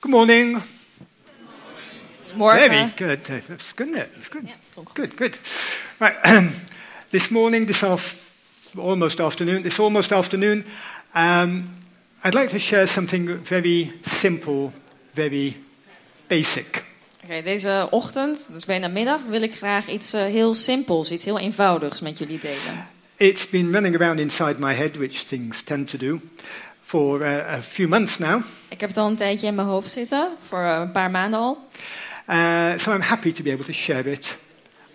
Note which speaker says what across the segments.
Speaker 1: Good morning.
Speaker 2: Morgen.
Speaker 1: Very good. That's good, isn't it? That's good.
Speaker 2: Ja, klopt.
Speaker 1: Good, good. Right. this morning, this af- almost afternoon, this almost afternoon, um, I'd like to share something very simple, very basic.
Speaker 2: Oké, deze ochtend, dus bijna middag, wil ik graag iets eh, heel simpels, iets heel eenvoudigs met jullie delen.
Speaker 1: It's been running around inside my head, which things tend to do, for uh, a few months now.
Speaker 2: Ik heb het al een tijdje in mijn hoofd zitten, voor eh, een paar maanden al.
Speaker 1: Uh, so I'm happy to be able to share it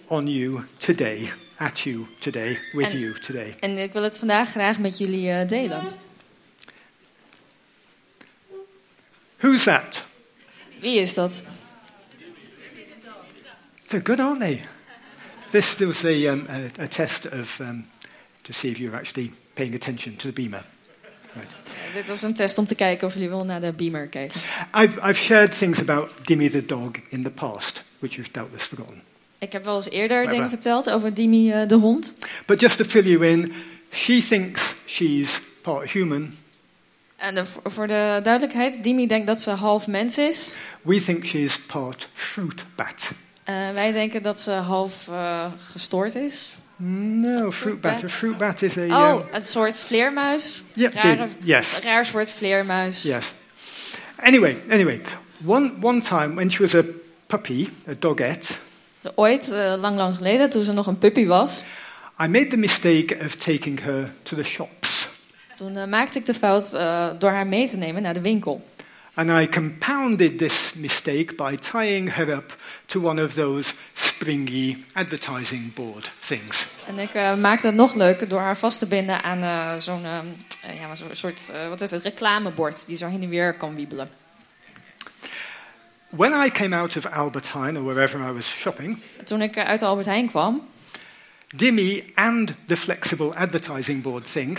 Speaker 1: on you today, at you today, with
Speaker 2: And-
Speaker 1: you today.
Speaker 2: En ik wil het vandaag graag met jullie eh, delen.
Speaker 1: Who's that?
Speaker 2: Wie is dat?
Speaker 1: They're good, aren't they? This was a, um, a, a test of um, to see if you're actually paying attention to the beamer.
Speaker 2: Eh, Dit was een test om te kijken of jullie wel naar de beamer kijken.
Speaker 1: I've, I've shared things about Dimmy the dog in the past, which you've doubtless forgotten.
Speaker 2: Ik heb wel eens eerder
Speaker 1: Maar
Speaker 2: dingen
Speaker 1: we-
Speaker 2: verteld over Dimi eh, de hond.
Speaker 1: But just to fill you in, she thinks she's part human.
Speaker 2: En de- voor de duidelijkheid, Dimi denkt dat ze half mens is.
Speaker 1: We think she's part fruit bat.
Speaker 2: Eh, wij denken dat ze half eh, gestoord is.
Speaker 1: No, fruit
Speaker 2: Fruit
Speaker 1: bat.
Speaker 2: bat.
Speaker 1: A fruit bat is a.
Speaker 2: Oh,
Speaker 1: um,
Speaker 2: een soort vleermuis.
Speaker 1: yeah,
Speaker 2: rare-
Speaker 1: big- yes.
Speaker 2: Raar soort vleermuis.
Speaker 1: Yes. Anyway, anyway, one, one time when she was a puppy, a dogette,
Speaker 2: Ooit, eh, lang lang geleden, toen ze nog een puppy was,
Speaker 1: I made the mistake of taking her to the shops.
Speaker 2: toen eh, maakte ik de fout eh, door haar mee te nemen naar de winkel.
Speaker 1: And I compounded this mistake by tying her up to one of those springy advertising board things.
Speaker 2: En ik eh, maakte het nog leuker door haar vast te binden aan eh, zo'n ehm, eh, ja, maar zo'n soort, eh, wat is het, reclamebord die zo heen en weer kan wiebelen.
Speaker 1: When I came out of Albertine or wherever I was shopping,
Speaker 2: En Toen ik eh, uit de Albert Heijn kwam,
Speaker 1: Dimmy and the flexible advertising board thing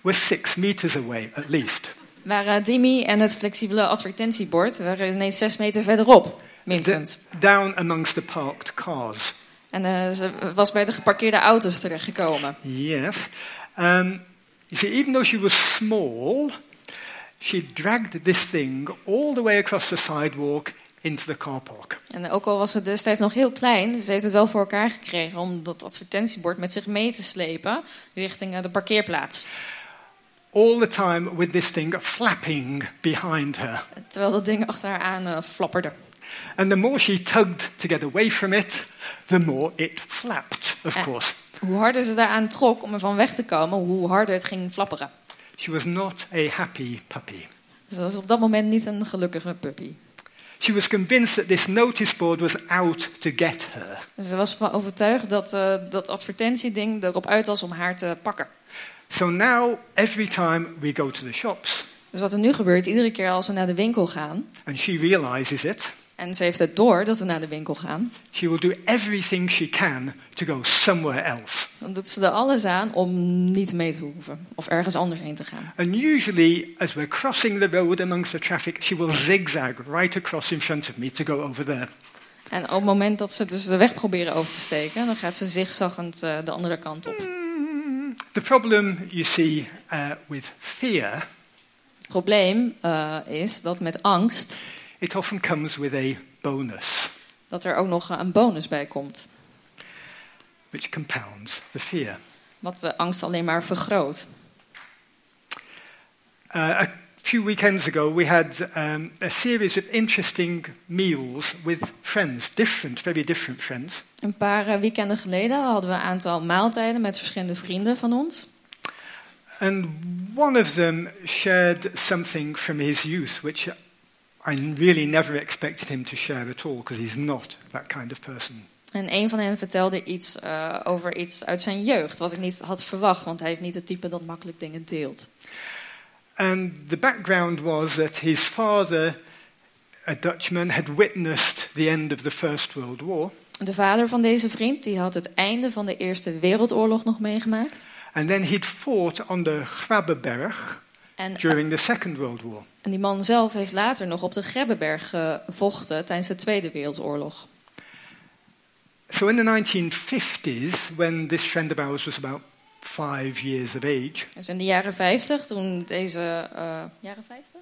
Speaker 1: were six meters away at least.
Speaker 2: waren Dimi en het flexibele advertentiebord waren ineens zes meter verderop, minstens.
Speaker 1: D- down amongst the parked cars.
Speaker 2: En eh, ze was bij de geparkeerde auto's terechtgekomen.
Speaker 1: Yes. Um, you see, even though she was small, she dragged this thing all the way across the sidewalk into the car park.
Speaker 2: En ook al was het destijds nog heel klein, ze heeft het wel voor elkaar gekregen om dat advertentiebord met zich mee te slepen richting eh, de parkeerplaats.
Speaker 1: All the time with this thing flapping behind her.
Speaker 2: Terwijl dat ding achter haar aan eh, flapperde.
Speaker 1: And the more she tugged to get away from it, the more it flapped, of
Speaker 2: Eh.
Speaker 1: course.
Speaker 2: Hoe harder ze daaraan trok om ervan weg te komen, hoe harder het ging flapperen.
Speaker 1: She was not a happy puppy.
Speaker 2: Dus dat was op dat moment niet een gelukkige puppy.
Speaker 1: She was convinced that this notice board was out to get her.
Speaker 2: En Ze was van overtuigd dat eh, dat advertentieding erop uit was om haar te pakken.
Speaker 1: So now, every time we go to the shops,
Speaker 2: Dus wat er nu gebeurt, iedere keer als we naar de winkel gaan,
Speaker 1: and she realizes it,
Speaker 2: en ze heeft het door dat we naar de winkel gaan,
Speaker 1: She will do everything she can to go somewhere else.
Speaker 2: dan doet ze er alles aan om niet mee te hoeven of ergens anders heen te gaan.
Speaker 1: And usually, as we're crossing the road amongst the traffic, she will zigzag right across in front of me to go over there.
Speaker 2: En op het moment dat ze dus de weg proberen over te steken, dan gaat ze zigzaggend eh, de andere kant op.
Speaker 1: The problem, you see, uh, with fear,
Speaker 2: Het probleem eh, is dat met angst,
Speaker 1: it often comes with a bonus,
Speaker 2: dat er ook nog eh, een bonus bij komt.
Speaker 1: which compounds the fear.
Speaker 2: Wat de angst alleen maar vergroot.
Speaker 1: Uh, a few weekends ago, we had um, a series of interesting meals with friends, different, very different friends.
Speaker 2: Een paar eh, weekenden geleden hadden we een aantal maaltijden met verschillende vrienden van ons.
Speaker 1: And one of them shared something from his youth, which I really never expected him to share at all, because he's not that kind of person.
Speaker 2: En een van hen vertelde iets eh, over iets uit zijn jeugd, wat ik niet had verwacht, want hij is niet het type dat makkelijk dingen deelt.
Speaker 1: And the background was that his father, a Dutchman, had witnessed the end of the First World War,
Speaker 2: De vader van deze vriend die had het einde van de Eerste Wereldoorlog nog meegemaakt.
Speaker 1: and then he'd fought on the Grabberberg
Speaker 2: En
Speaker 1: during the Second World War.
Speaker 2: En die man zelf heeft later nog op de Grebbeberg gevochten tijdens de Tweede Wereldoorlog.
Speaker 1: So in the 1950s, when this friend of ours was about five years of age,
Speaker 2: Dus in de jaren 50, toen deze... eh, jaren 50?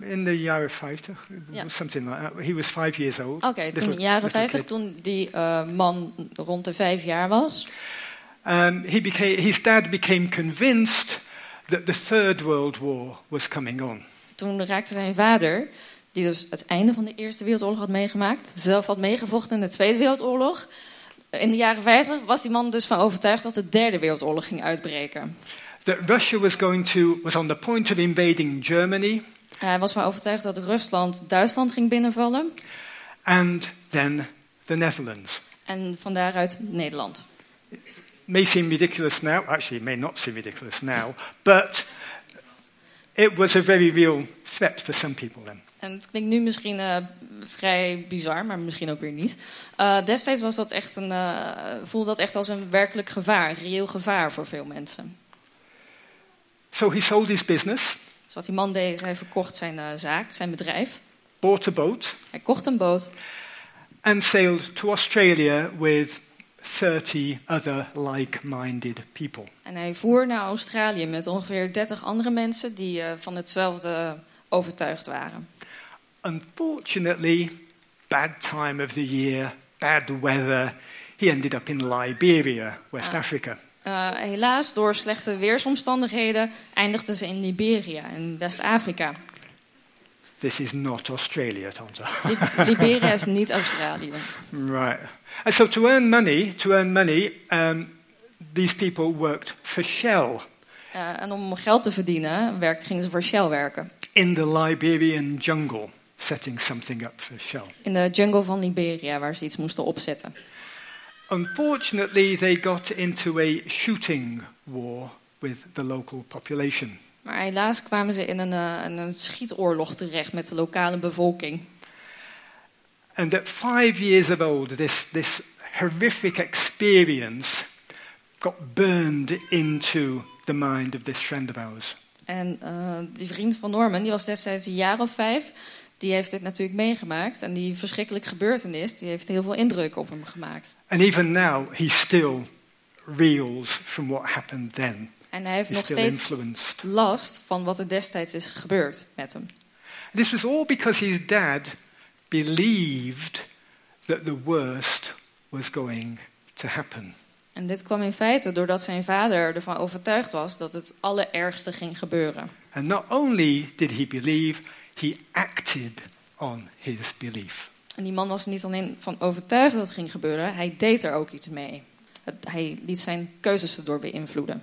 Speaker 1: in the jaren 50,
Speaker 2: Ja.
Speaker 1: something like that. He was five years old.
Speaker 2: Oké, toen in de jaren 50, toen die eh, man rond de vijf jaar was.
Speaker 1: Um, he became, his dad became convinced that the Third World War was coming on.
Speaker 2: Toen raakte zijn vader, die dus het einde van de Eerste Wereldoorlog had meegemaakt... zelf had meegevochten in de Tweede Wereldoorlog... In de jaren 50 was die man dus van overtuigd dat de Derde Wereldoorlog ging uitbreken.
Speaker 1: That Russia was going to was on the point of invading Germany,
Speaker 2: Hij was van overtuigd dat Rusland Duitsland ging binnenvallen
Speaker 1: and then the Netherlands.
Speaker 2: en van daaruit Nederland.
Speaker 1: May seem ridiculous now. Actually, it may not seem ridiculous now, but it was a very real threat for some people then.
Speaker 2: En het klinkt nu misschien eh, vrij bizar, maar misschien ook weer niet. Eh, destijds was dat echt een, eh, voelde dat echt als een werkelijk gevaar, reëel gevaar voor veel mensen.
Speaker 1: So he sold his business,
Speaker 2: Dus wat die man deed, is hij verkocht zijn eh, zaak, zijn bedrijf.
Speaker 1: bought a boat,
Speaker 2: Hij kocht een boot
Speaker 1: and sailed to Australia with 30 other like minded people.
Speaker 2: en hij voer naar Australië met ongeveer 30 andere mensen die eh, van hetzelfde overtuigd waren.
Speaker 1: Unfortunately, bad time of the year, bad weather, he ended up in Liberia, West
Speaker 2: Ah.
Speaker 1: Africa.
Speaker 2: Eh, helaas, door slechte weersomstandigheden eindigden ze in Liberia, in West-Afrika.
Speaker 1: This is not Australia, Tonto.
Speaker 2: Lib- Liberia is niet Australië.
Speaker 1: Right. And so to earn money, to earn money, um, these people worked for Shell
Speaker 2: Eh, en om geld te verdienen werk, gingen ze voor Shell werken.
Speaker 1: in the Liberian jungle, setting something up for Shell.
Speaker 2: In de jungle van Liberia, waar ze iets moesten opzetten.
Speaker 1: Unfortunately, they got into a shooting war with the local population.
Speaker 2: Maar helaas kwamen ze in een, eh, in een schietoorlog terecht met de lokale bevolking.
Speaker 1: And at five years of old, this, this horrific experience got burned into the mind of this friend of ours.
Speaker 2: En eh, die vriend van Norman, die was destijds een jaar of vijf, die heeft dit natuurlijk meegemaakt. En die verschrikkelijke gebeurtenis, die heeft heel veel indruk op hem gemaakt.
Speaker 1: And even now, he still reels from what happened then.
Speaker 2: En hij heeft
Speaker 1: He's
Speaker 2: nog
Speaker 1: still
Speaker 2: steeds
Speaker 1: influenced.
Speaker 2: last van wat er destijds is gebeurd met hem.
Speaker 1: This was all because his dad believed that the worst was going to happen.
Speaker 2: En dit kwam in feite doordat zijn vader ervan overtuigd was dat het allerergste ging gebeuren.
Speaker 1: And not only did he believe, he acted on his belief.
Speaker 2: En die man was er niet alleen van overtuigd dat het ging gebeuren, hij deed er ook iets mee. Het- hij liet zijn keuzes erdoor beïnvloeden.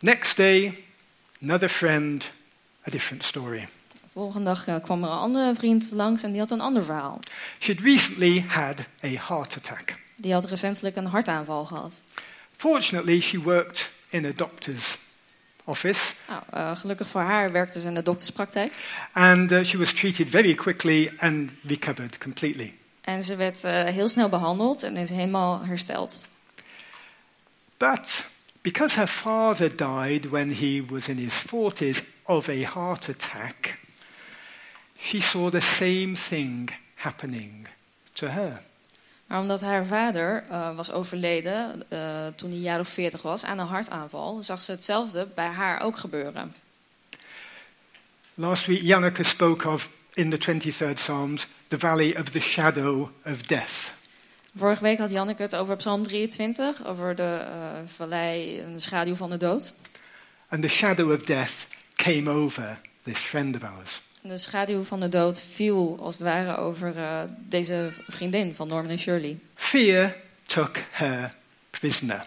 Speaker 1: Next day, another friend, a different story.
Speaker 2: De volgende dag eh, kwam er een andere vriend langs en die had een ander verhaal.
Speaker 1: She'd recently had a heart attack.
Speaker 2: Die had recentelijk een hartaanval gehad.
Speaker 1: Fortunately, she worked in a doctor's office
Speaker 2: Nou, eh, gelukkig voor haar werkte ze in de dokterspraktijk.
Speaker 1: and uh, she was treated very quickly and recovered completely.
Speaker 2: En ze werd eh, heel snel behandeld en is helemaal hersteld.
Speaker 1: But because her father died when he was in his 40s of a heart attack, she saw the same thing happening to her.
Speaker 2: Maar omdat haar vader eh, was overleden eh, toen hij een jaar of 40 was aan een hartaanval, zag ze hetzelfde bij haar ook gebeuren.
Speaker 1: Last week, Janneke spoke of in the 23rd Psalms the valley of the shadow of death.
Speaker 2: Vorige week had Janneke het over Psalm 23, over de eh, vallei en de schaduw van de dood.
Speaker 1: And the shadow of death came over this friend of ours.
Speaker 2: En De schaduw van de dood viel als het ware over eh, deze vriendin van Norman en Shirley.
Speaker 1: Fear took her prisoner.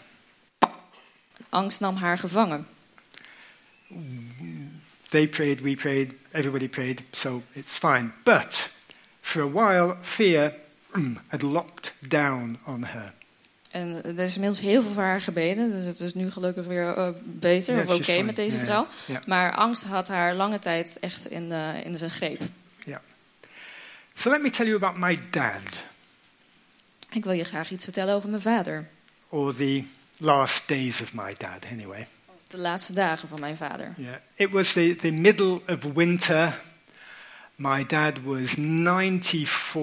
Speaker 2: Angst nam haar gevangen.
Speaker 1: They prayed, we prayed, everybody prayed, so it's fine. But for a while, fear mm, had locked down on her.
Speaker 2: En er is inmiddels heel veel voor haar gebeden, dus het is nu gelukkig weer eh, beter
Speaker 1: Ja,
Speaker 2: of
Speaker 1: she's
Speaker 2: oké
Speaker 1: fine.
Speaker 2: met deze
Speaker 1: Ja,
Speaker 2: vrouw.
Speaker 1: ja.
Speaker 2: Maar angst had haar lange tijd echt in, eh, in zijn greep.
Speaker 1: So let me tell you about my dad,
Speaker 2: Ik wil je graag iets vertellen over mijn vader.
Speaker 1: or the last days of my dad, anyway.
Speaker 2: De laatste dagen van mijn vader.
Speaker 1: Yeah. It was the, the middle of winter. My dad was 94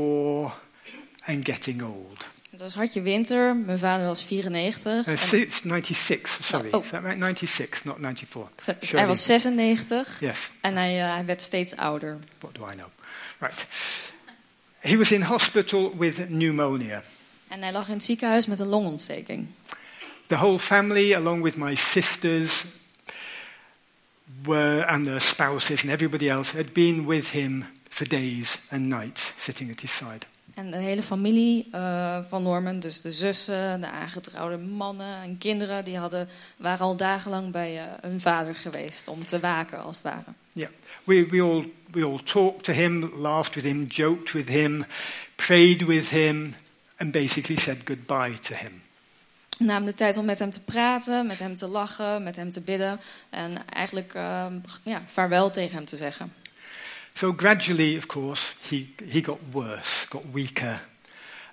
Speaker 1: and getting old.
Speaker 2: Het was hartje winter, mijn vader was 94.
Speaker 1: Uh,
Speaker 2: en
Speaker 1: si- it's 96, sorry.
Speaker 2: oh.
Speaker 1: Is that right? 96, not 94.
Speaker 2: hij
Speaker 1: surely.
Speaker 2: was 96
Speaker 1: Yes,
Speaker 2: en hij, eh, hij werd steeds ouder.
Speaker 1: what do I know? Right. He was in hospital with pneumonia.
Speaker 2: En hij lag in het ziekenhuis met een longontsteking.
Speaker 1: The whole family, along with my sisters were, and their spouses and everybody else, had been with him for days and nights, sitting at his side.
Speaker 2: En de hele familie eh, van Norman, dus de zussen, de aangetrouwde mannen en kinderen, die hadden, waren al dagenlang bij eh, hun vader geweest om te waken, als het ware.
Speaker 1: Yeah. We, we, all, we all talked to him, laughed with him, joked with him, prayed with him, and basically said goodbye to him.
Speaker 2: We namen de tijd om met hem te praten, met hem te lachen, met hem te bidden en eigenlijk eh, ja, vaarwel tegen hem te zeggen.
Speaker 1: So gradually, of course, he, he got worse, got weaker,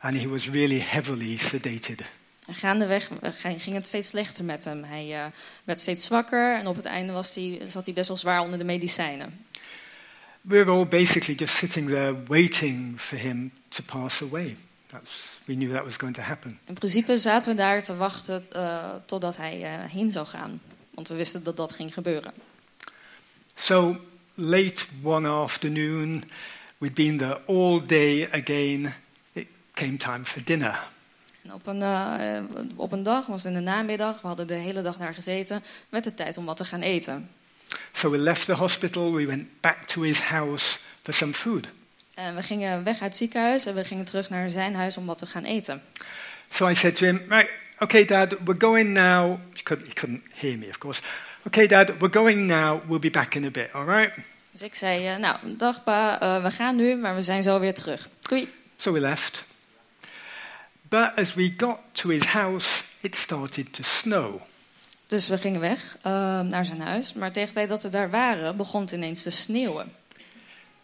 Speaker 1: and he was really heavily sedated.
Speaker 2: En gaandeweg eh, ging ging het steeds slechter met hem. Hij eh, werd steeds zwakker en op het einde was hij, zat hij best wel zwaar onder de medicijnen.
Speaker 1: We were all basically just sitting there waiting for him to pass away. That's, we knew that was going to happen.
Speaker 2: In principe zaten we daar te wachten eh, totdat hij eh, heen zou gaan. Want we wisten dat dat ging gebeuren.
Speaker 1: So late one afternoon, we'd been there all day again. It came time for dinner.
Speaker 2: En op, een, eh, eh, op een dag, was in de namiddag, we hadden de hele dag daar gezeten, werd het tijd om wat te gaan eten.
Speaker 1: So we left the hospital, we went back to his house for some food.
Speaker 2: En we gingen weg uit het ziekenhuis en we gingen terug naar zijn huis om wat te gaan eten.
Speaker 1: So I said to him, Right, okay, Dad, we're going now. He couldn't, he couldn't hear me, of course. Okay, Dad, we're going now. We'll be back in a bit, all right?
Speaker 2: Dus ik zei, eh, nou, dag pa, eh, we gaan nu, maar we zijn zo weer terug. Doei.
Speaker 1: So we left. But as we got to his house, it started to snow.
Speaker 2: Dus we gingen weg eh, naar zijn huis, maar tegen de tijd dat we daar waren, begon het ineens te sneeuwen.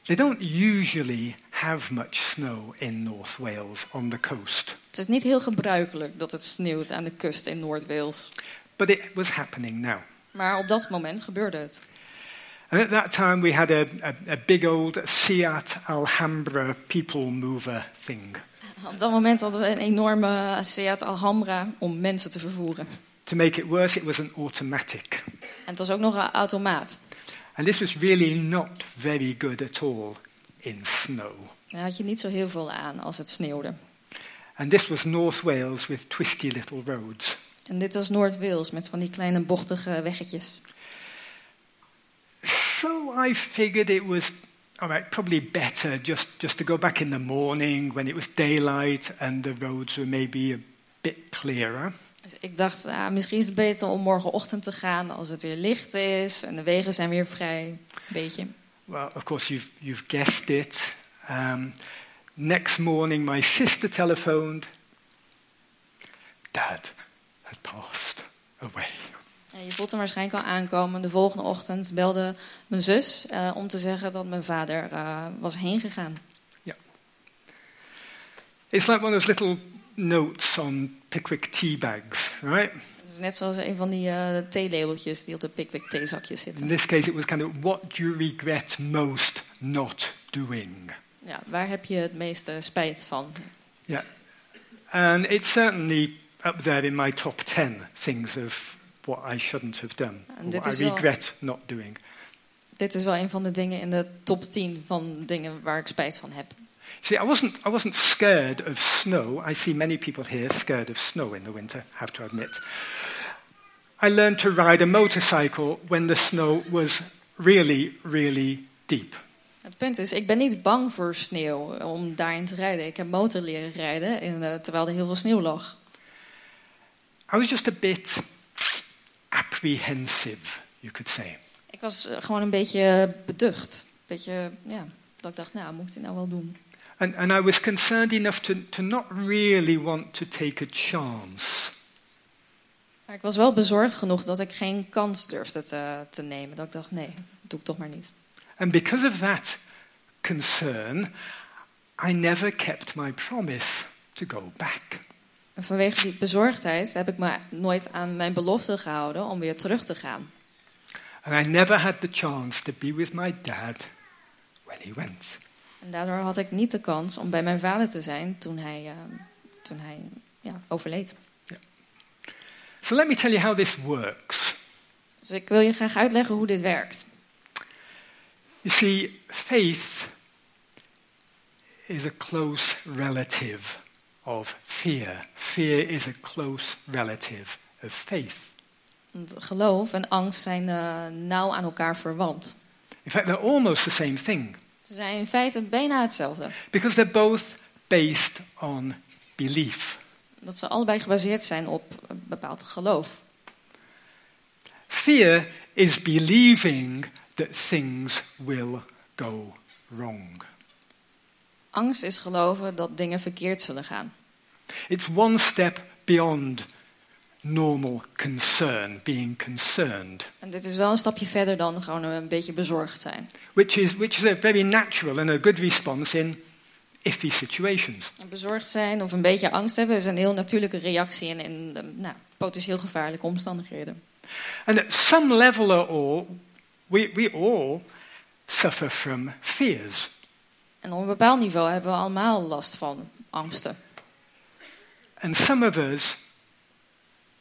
Speaker 1: They don't usually have much snow in North Wales on the coast,
Speaker 2: Het is niet heel gebruikelijk dat het sneeuwt aan de kust in Noord-Wales.
Speaker 1: but it was happening now.
Speaker 2: Maar op dat moment gebeurde het.
Speaker 1: And at that time, we had a, a, a big old Seat Alhambra people mover thing
Speaker 2: Op dat moment hadden we een enorme Seat Alhambra om mensen te vervoeren.
Speaker 1: To make it worse, it was an automatic.
Speaker 2: En het was ook nog een automaat.
Speaker 1: And this was really not very good at all in snow.
Speaker 2: Daar had je niet zo heel veel aan als het sneeuwde.
Speaker 1: And this was North Wales with twisty little roads.
Speaker 2: En dit was Noord-Wales met van die kleine bochtige weggetjes.
Speaker 1: So I figured it was, all right, probably better just, just to go back in the morning when it was daylight and the roads were maybe a bit clearer.
Speaker 2: Dus ik dacht, ah, misschien is het beter om morgenochtend te gaan als het weer licht is en de wegen zijn weer vrij. Een beetje.
Speaker 1: Well, of course, you've, you've guessed it. Um, next morning, my sister telephoned. Dad had passed away.
Speaker 2: Ja, je voelt hem waarschijnlijk al aankomen. De volgende ochtend belde mijn zus eh, om te zeggen dat mijn vader eh, was heen gegaan.
Speaker 1: It's like one of those little notes on Pickwick tea bags, right?
Speaker 2: Het is net zoals een van die eh theelabeltjes die op de Pickwick theezakjes
Speaker 1: In
Speaker 2: zitten.
Speaker 1: this case, it was kind of what do you regret most not doing?
Speaker 2: Ja, waar heb je het meeste spijt van?
Speaker 1: And it's certainly up there in my top 10 things of what I shouldn't have done,
Speaker 2: And
Speaker 1: what
Speaker 2: that
Speaker 1: I
Speaker 2: is your-
Speaker 1: regret not doing.
Speaker 2: Dit is wel een van de dingen in de top 10 van dingen waar ik spijt van heb.
Speaker 1: See, I wasn't, I wasn't scared of snow. I see many people here scared of snow in the winter, have to admit. I learned to ride a motorcycle when the snow was really, really deep.
Speaker 2: Het punt is, ik ben niet bang voor sneeuw om daarin te rijden. Ik heb motor leren rijden in, eh, terwijl er heel veel sneeuw lag.
Speaker 1: I was just a bit apprehensive, you could say.
Speaker 2: Ik was eh, gewoon een beetje beducht. Beetje, ja, dat ik dacht, nou, moet ik dit nou wel doen?
Speaker 1: And, and I was concerned enough to, to not really want to take a chance.
Speaker 2: Maar ik was wel bezorgd genoeg dat ik geen kans durfde te, te nemen. Dat ik dacht, nee, dat doe ik toch maar niet.
Speaker 1: And because of that concern, I never kept my promise to go back.
Speaker 2: En vanwege die bezorgdheid heb ik me nooit aan mijn belofte gehouden om weer terug te gaan.
Speaker 1: And I never had the chance to be with my dad when he went.
Speaker 2: En daardoor had ik niet de kans om bij mijn vader te zijn toen hij eh, toen hij ja, overleed.
Speaker 1: So let me tell you how this works.
Speaker 2: Dus ik wil je graag uitleggen hoe dit werkt.
Speaker 1: You see, faith is a close relative of fear. Fear is a close relative of faith.
Speaker 2: Want geloof en angst zijn eh, nauw aan elkaar verwant.
Speaker 1: In fact, they're almost the same thing
Speaker 2: Ze zijn in feite bijna hetzelfde.
Speaker 1: because they're both based on belief.
Speaker 2: Dat ze allebei gebaseerd zijn op een bepaald geloof.
Speaker 1: Fear is believing that things will go wrong.
Speaker 2: Angst is geloven dat dingen verkeerd zullen gaan.
Speaker 1: It's one step beyond normal concern, being concerned,
Speaker 2: En dit is wel een stapje verder dan gewoon eh, een beetje bezorgd zijn.
Speaker 1: which is, which is a very natural and a good response in iffy situations.
Speaker 2: En bezorgd zijn of een beetje angst hebben is een heel natuurlijke reactie in, in eh, nou, potentieel gevaarlijke omstandigheden.
Speaker 1: And at some level or all, we, we all suffer from fears.
Speaker 2: En op een bepaald niveau hebben we allemaal last van angsten.
Speaker 1: And some of us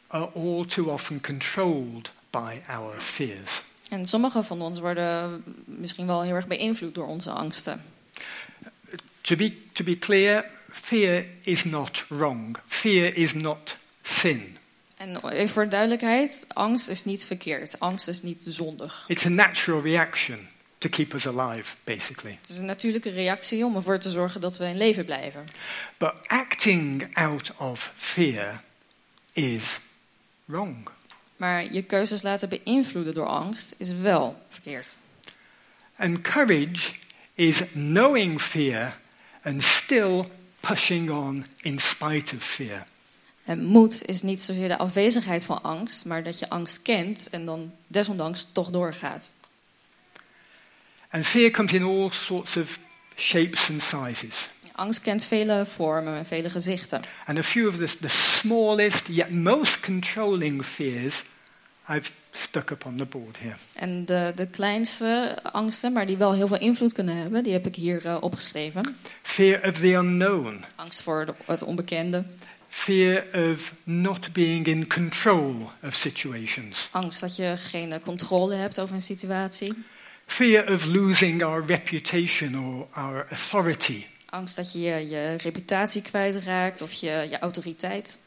Speaker 1: are all too often controlled by our fears.
Speaker 2: En sommige van ons worden misschien wel heel erg beïnvloed door onze angsten.
Speaker 1: To be, to be clear, fear is not wrong. Fear is not sin.
Speaker 2: En eh, even voor duidelijkheid, angst is niet verkeerd. Angst is niet zondig.
Speaker 1: It's a natural reaction to keep us alive, basically.
Speaker 2: Het is een natuurlijke reactie om ervoor te zorgen dat we in leven blijven.
Speaker 1: But acting out of fear is wrong.
Speaker 2: Maar je keuzes laten beïnvloeden door angst is wel verkeerd.
Speaker 1: And courage is knowing fear and still pushing on in spite of fear.
Speaker 2: En moed is niet zozeer de afwezigheid van angst, maar dat je angst kent en dan desondanks toch doorgaat.
Speaker 1: And fear comes in all sorts of shapes and sizes.
Speaker 2: Angst kent vele vormen en vele gezichten.
Speaker 1: And a few of the, the smallest yet most controlling fears I've stuck up on the board here.
Speaker 2: En de, de kleinste angsten, maar die wel heel veel invloed kunnen hebben, die heb ik hier eh, opgeschreven.
Speaker 1: Fear of the unknown,
Speaker 2: Angst voor de- het onbekende.
Speaker 1: fear of not being in control of situations,
Speaker 2: Angst dat je geen eh, controle hebt over een situatie.
Speaker 1: fear of losing our reputation or our authority,
Speaker 2: Angst dat je je, je reputatie kwijtraakt of je, je autoriteit.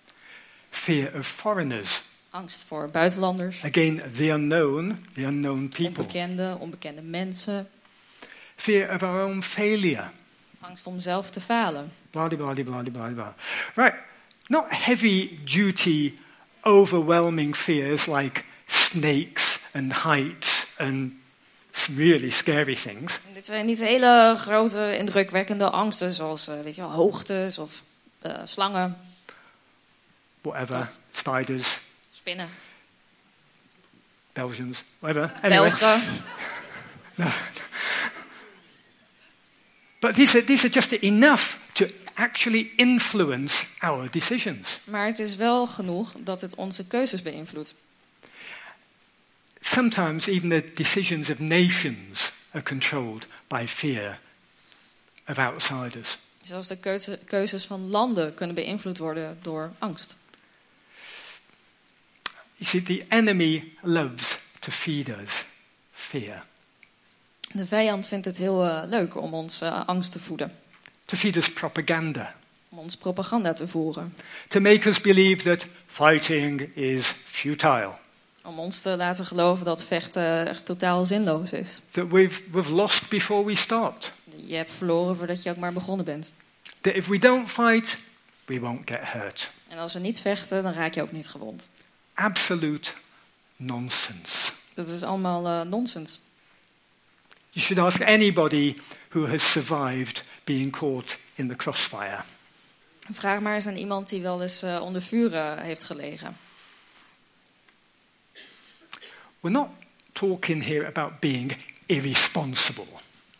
Speaker 1: fear of foreigners,
Speaker 2: Angst voor buitenlanders,
Speaker 1: again, the unknown, the unknown people,
Speaker 2: onbekende, onbekende mensen.
Speaker 1: fear of our own failure,
Speaker 2: Angst om zelf te falen.
Speaker 1: blah, de blah, de blah, de blah, de blah. Right, not heavy duty, overwhelming fears like snakes and heights and s- really scary things.
Speaker 2: En dit zijn niet hele grote, indrukwekkende angsten, zoals eh, weet je wel, hoogtes of eh, slangen,
Speaker 1: Whatever,
Speaker 2: Wat?
Speaker 1: spiders,
Speaker 2: spinnen,
Speaker 1: Belgians, whatever. Anyway,
Speaker 2: Belgen.
Speaker 1: but these are, these are just enough to actually influence our decisions.
Speaker 2: Maar het is wel genoeg dat het onze keuzes beïnvloedt.
Speaker 1: Sometimes even the decisions of nations are controlled by fear of outsiders.
Speaker 2: Zelfs de keuze- keuzes van landen kunnen beïnvloed worden door angst.
Speaker 1: You see, the enemy loves to feed us fear,
Speaker 2: De vijand vindt het heel eh, leuk om ons eh, angst te voeden,
Speaker 1: to feed us propaganda,
Speaker 2: om ons propaganda te voeren,
Speaker 1: to make us believe that fighting is futile,
Speaker 2: om ons te laten geloven dat vechten echt totaal zinloos is.
Speaker 1: that we've, we've lost before we start,
Speaker 2: Je hebt verloren voordat je ook maar begonnen bent.
Speaker 1: that if we don't fight, we won't get hurt.
Speaker 2: En als we niet vechten, dan raak je ook niet gewond.
Speaker 1: Absolute nonsense.
Speaker 2: Dat is allemaal eh, nonsens.
Speaker 1: You should ask anybody who has survived being caught in the crossfire.
Speaker 2: Vraag maar eens aan iemand die wel eens eh, onder vuur eh, heeft gelegen.
Speaker 1: We're not talking here about being irresponsible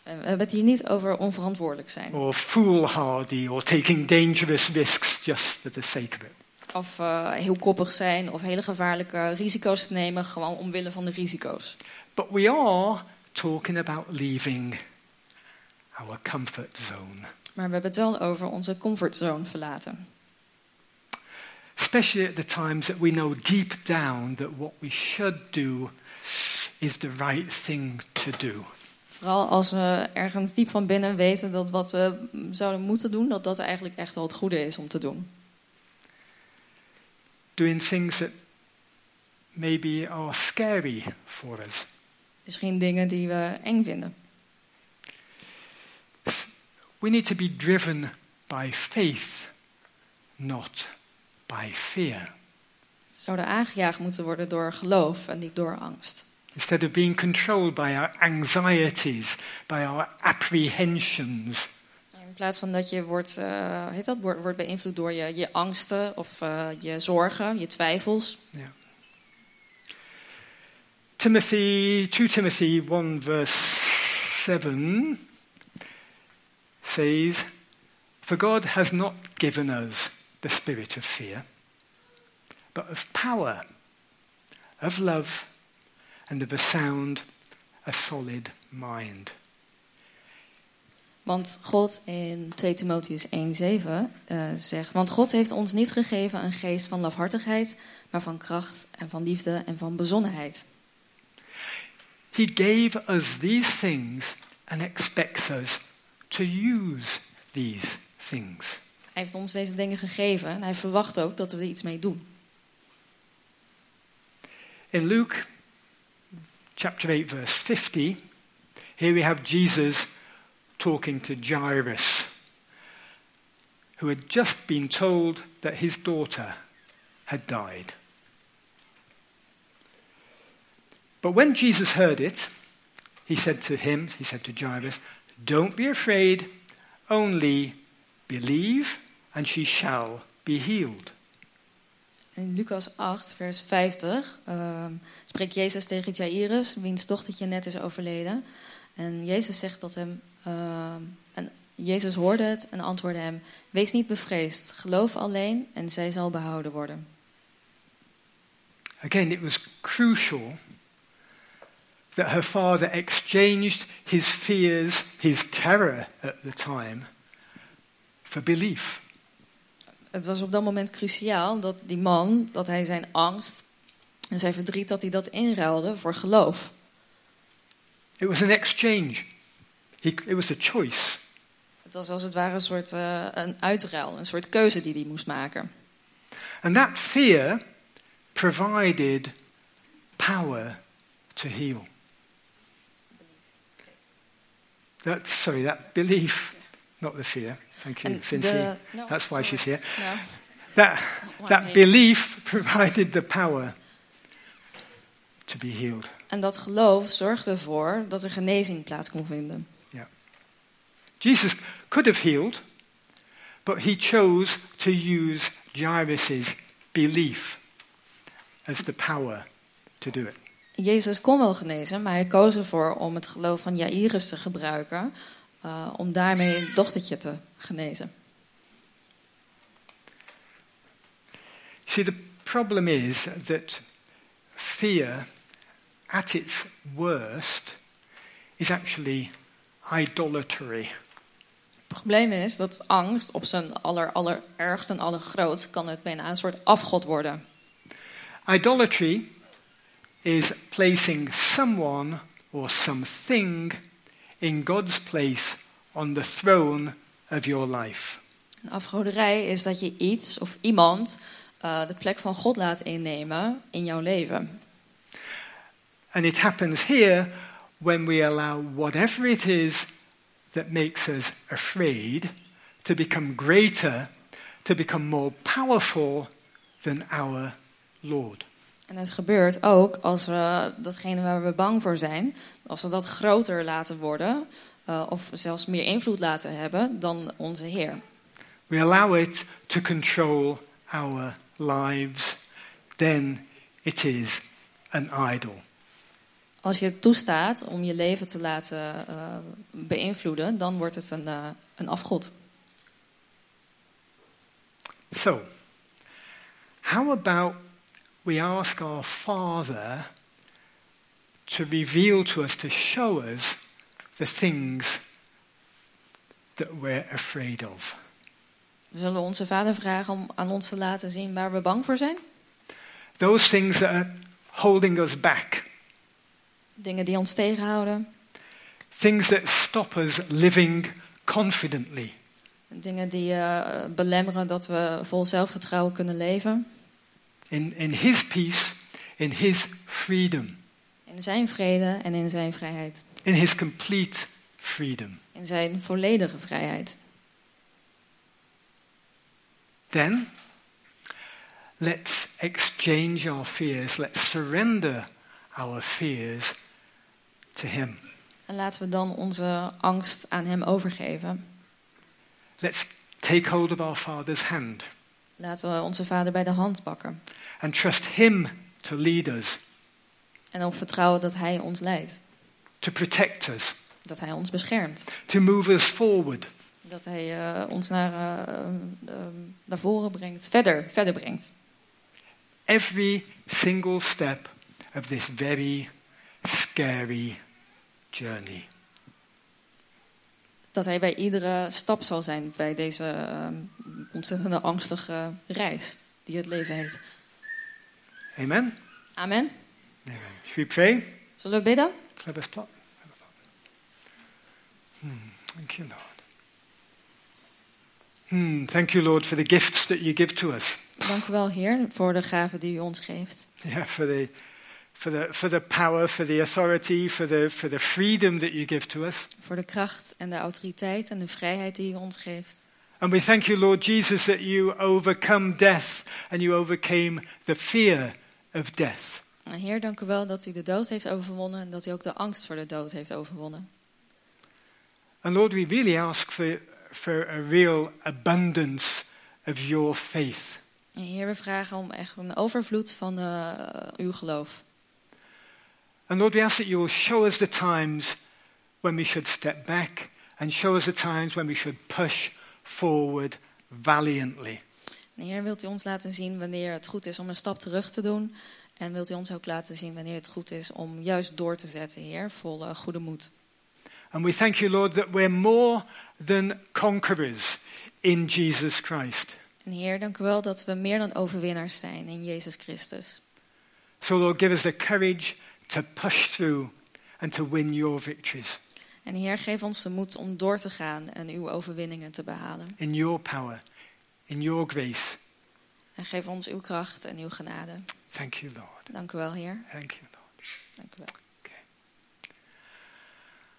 Speaker 2: En We hebben het hier niet over onverantwoordelijk zijn.
Speaker 1: or foolhardy or taking dangerous risks just for the sake of it.
Speaker 2: Of eh, heel koppig zijn of hele gevaarlijke risico's te nemen, gewoon omwille van de risico's.
Speaker 1: But we are talking about leaving our comfort zone,
Speaker 2: Maar we hebben het wel over onze comfortzone verlaten.
Speaker 1: especially at the times that we know deep down that what we should do is the right thing to do.
Speaker 2: Vooral als we ergens diep van binnen weten dat wat we zouden moeten doen, dat dat eigenlijk echt wel het goede is om te doen.
Speaker 1: Doing things that maybe are scary for us.
Speaker 2: Dus geen dingen die we eng vinden.
Speaker 1: We need to be driven by faith, not by fear.
Speaker 2: We zouden aangejaagd moeten worden door geloof en niet door angst.
Speaker 1: Instead of being controlled by our anxieties, by our apprehensions,
Speaker 2: In plaats van dat je wordt, eh, hoe heet dat, wordt, wordt beïnvloed door je, je angsten of eh, je zorgen, je twijfels.
Speaker 1: Timothy, 2 Timothy 1 verse 7 says, For God has not given us the spirit of fear, but of power, of love, and of a sound, a solid mind.
Speaker 2: Want God in 2 Timotheus 1,7 eh, zegt: Want God heeft ons niet gegeven een geest van lafhartigheid, maar van kracht en van liefde en van bezonnenheid.
Speaker 1: He gave us these things and expects us to use these things.
Speaker 2: Hij heeft ons deze dingen gegeven en hij verwacht ook dat we er iets mee doen.
Speaker 1: In Luke chapter 8, verse 50, here we have Jesus talking to Jairus, who had just been told that his daughter had died. But when Jesus heard it, he said to him, he said to Jairus, Don't be afraid, only believe, and she shall be healed.
Speaker 2: In Lucas 8, vers 50 ehm, spreekt Jezus tegen Jairus, wiens dochtertje net is overleden. En Jezus zegt dat hem. ehm, en Jezus hoorde het en antwoordde hem: Wees niet bevreesd, geloof alleen en zij zal behouden worden.
Speaker 1: Again, it was crucial that her father exchanged his fears, his terror at the time, for belief.
Speaker 2: Het was op dat moment cruciaal dat die man, dat hij zijn angst en zijn verdriet, dat hij dat inruilde voor geloof.
Speaker 1: It was an exchange, he, it was a choice.
Speaker 2: Het was als het ware een soort eh, een uitruil, een soort keuze die hij moest maken.
Speaker 1: And that fear provided power to heal. That, sorry, that belief, not the fear. Thank you,
Speaker 2: En
Speaker 1: Cincy.
Speaker 2: de- no,
Speaker 1: That's why
Speaker 2: sorry.
Speaker 1: she's here.
Speaker 2: Ja.
Speaker 1: That,
Speaker 2: Why
Speaker 1: that
Speaker 2: me?
Speaker 1: belief provided the power to be healed.
Speaker 2: En dat geloof zorgde ervoor dat er genezing plaats kon vinden.
Speaker 1: Jesus could have healed, but he chose to use Jairus' belief as the power to do it.
Speaker 2: Jezus kon wel genezen, maar hij koos ervoor om het geloof van Jairus te gebruiken. eh, om daarmee het dochtertje te genezen.
Speaker 1: See, the problem is that fear at its worst is actually idolatry.
Speaker 2: Het probleem is dat angst op zijn aller, allerergst en allergrootst kan het bijna een soort afgod worden.
Speaker 1: Idolatry is placing someone or something in God's place on the throne of your life.
Speaker 2: Een afgoderij is dat je iets of iemand eh, de plek van God laat innemen in jouw leven.
Speaker 1: And it happens here when we allow whatever it is that makes us afraid to become greater, to become more powerful than our Lord.
Speaker 2: En het gebeurt ook als we datgene waar we bang voor zijn, als we dat groter laten worden eh, of zelfs meer invloed laten hebben dan onze Heer.
Speaker 1: We allow it to control our lives. Then it is an idol.
Speaker 2: Als je het toestaat om je leven te laten eh, beïnvloeden, dan wordt het een, eh, een afgod.
Speaker 1: So, how about we ask our Father to reveal to us, to show us the things that we're afraid of?
Speaker 2: Zullen we onze vader vragen om aan ons te laten zien waar we bang voor zijn?
Speaker 1: Those things that are holding us back,
Speaker 2: Dingen die ons tegenhouden.
Speaker 1: things that stop us living confidently.
Speaker 2: Dingen die eh, belemmeren dat we vol zelfvertrouwen kunnen leven.
Speaker 1: in, in his peace, in his freedom,
Speaker 2: In zijn vrede en in zijn vrijheid.
Speaker 1: in his complete freedom.
Speaker 2: In zijn volledige vrijheid.
Speaker 1: Then, let's exchange our fears, let's surrender our fears to him.
Speaker 2: En laten we dan onze angst aan hem overgeven.
Speaker 1: Let's take hold of our Father's hand
Speaker 2: Laten we onze vader bij de hand pakken.
Speaker 1: and trust him to lead us,
Speaker 2: En op vertrouwen dat hij ons leidt.
Speaker 1: to protect us,
Speaker 2: Dat hij ons beschermt.
Speaker 1: to move us forward.
Speaker 2: Dat hij eh, ons naar, eh, ehm, naar voren brengt. Verder, verder brengt.
Speaker 1: Every single step of this very scary journey.
Speaker 2: Dat hij bij iedere stap zal zijn bij deze ehm, ontzettende angstige reis die het leven heet.
Speaker 1: Amen?
Speaker 2: Amen.
Speaker 1: Amen. Should we pray?
Speaker 2: Zullen we bidden?
Speaker 1: Can I best plot? Hmm, thank you, Lord. Hmm, thank you, Lord, for the gifts that you give to us.
Speaker 2: Dank u wel, Heer, voor de gave die u ons geeft.
Speaker 1: Yeah, for the, for the, for the power, for the authority, for the, for the freedom that you give to us.
Speaker 2: Voor de kracht en de autoriteit en de vrijheid die u ons geeft.
Speaker 1: And we thank you, Lord Jesus, that you overcome death and you overcame the fear of death.
Speaker 2: En Heer, dank u wel dat u de dood heeft overwonnen en dat u ook de angst voor de dood heeft overwonnen.
Speaker 1: And Lord, we really ask for, for a real abundance of your faith.
Speaker 2: En Heer, we vragen om echt een overvloed van eh, uw geloof.
Speaker 1: And Lord, we ask that you will show us the times when we should step back and show us the times when we should push forward valiantly.
Speaker 2: En Heer, wilt u ons laten zien wanneer het goed is om een stap terug te doen? En wilt u ons ook laten zien wanneer het goed is om juist door te zetten, Heer, vol eh, goede moed?
Speaker 1: And we thank you, Lord, that we're more than conquerors in Jesus Christ.
Speaker 2: En Heer, dank u wel dat we meer dan overwinnaars zijn in Jezus Christus.
Speaker 1: So, Lord, give us the courage to push through and to win your victories
Speaker 2: En Heer, geef ons de moed om door te gaan en uw overwinningen te behalen.
Speaker 1: in your power, in your grace.
Speaker 2: En geef ons uw kracht en uw genade.
Speaker 1: Thank you, Lord.
Speaker 2: Dank u wel, Heer.
Speaker 1: Thank you, Lord.
Speaker 2: Dank u wel.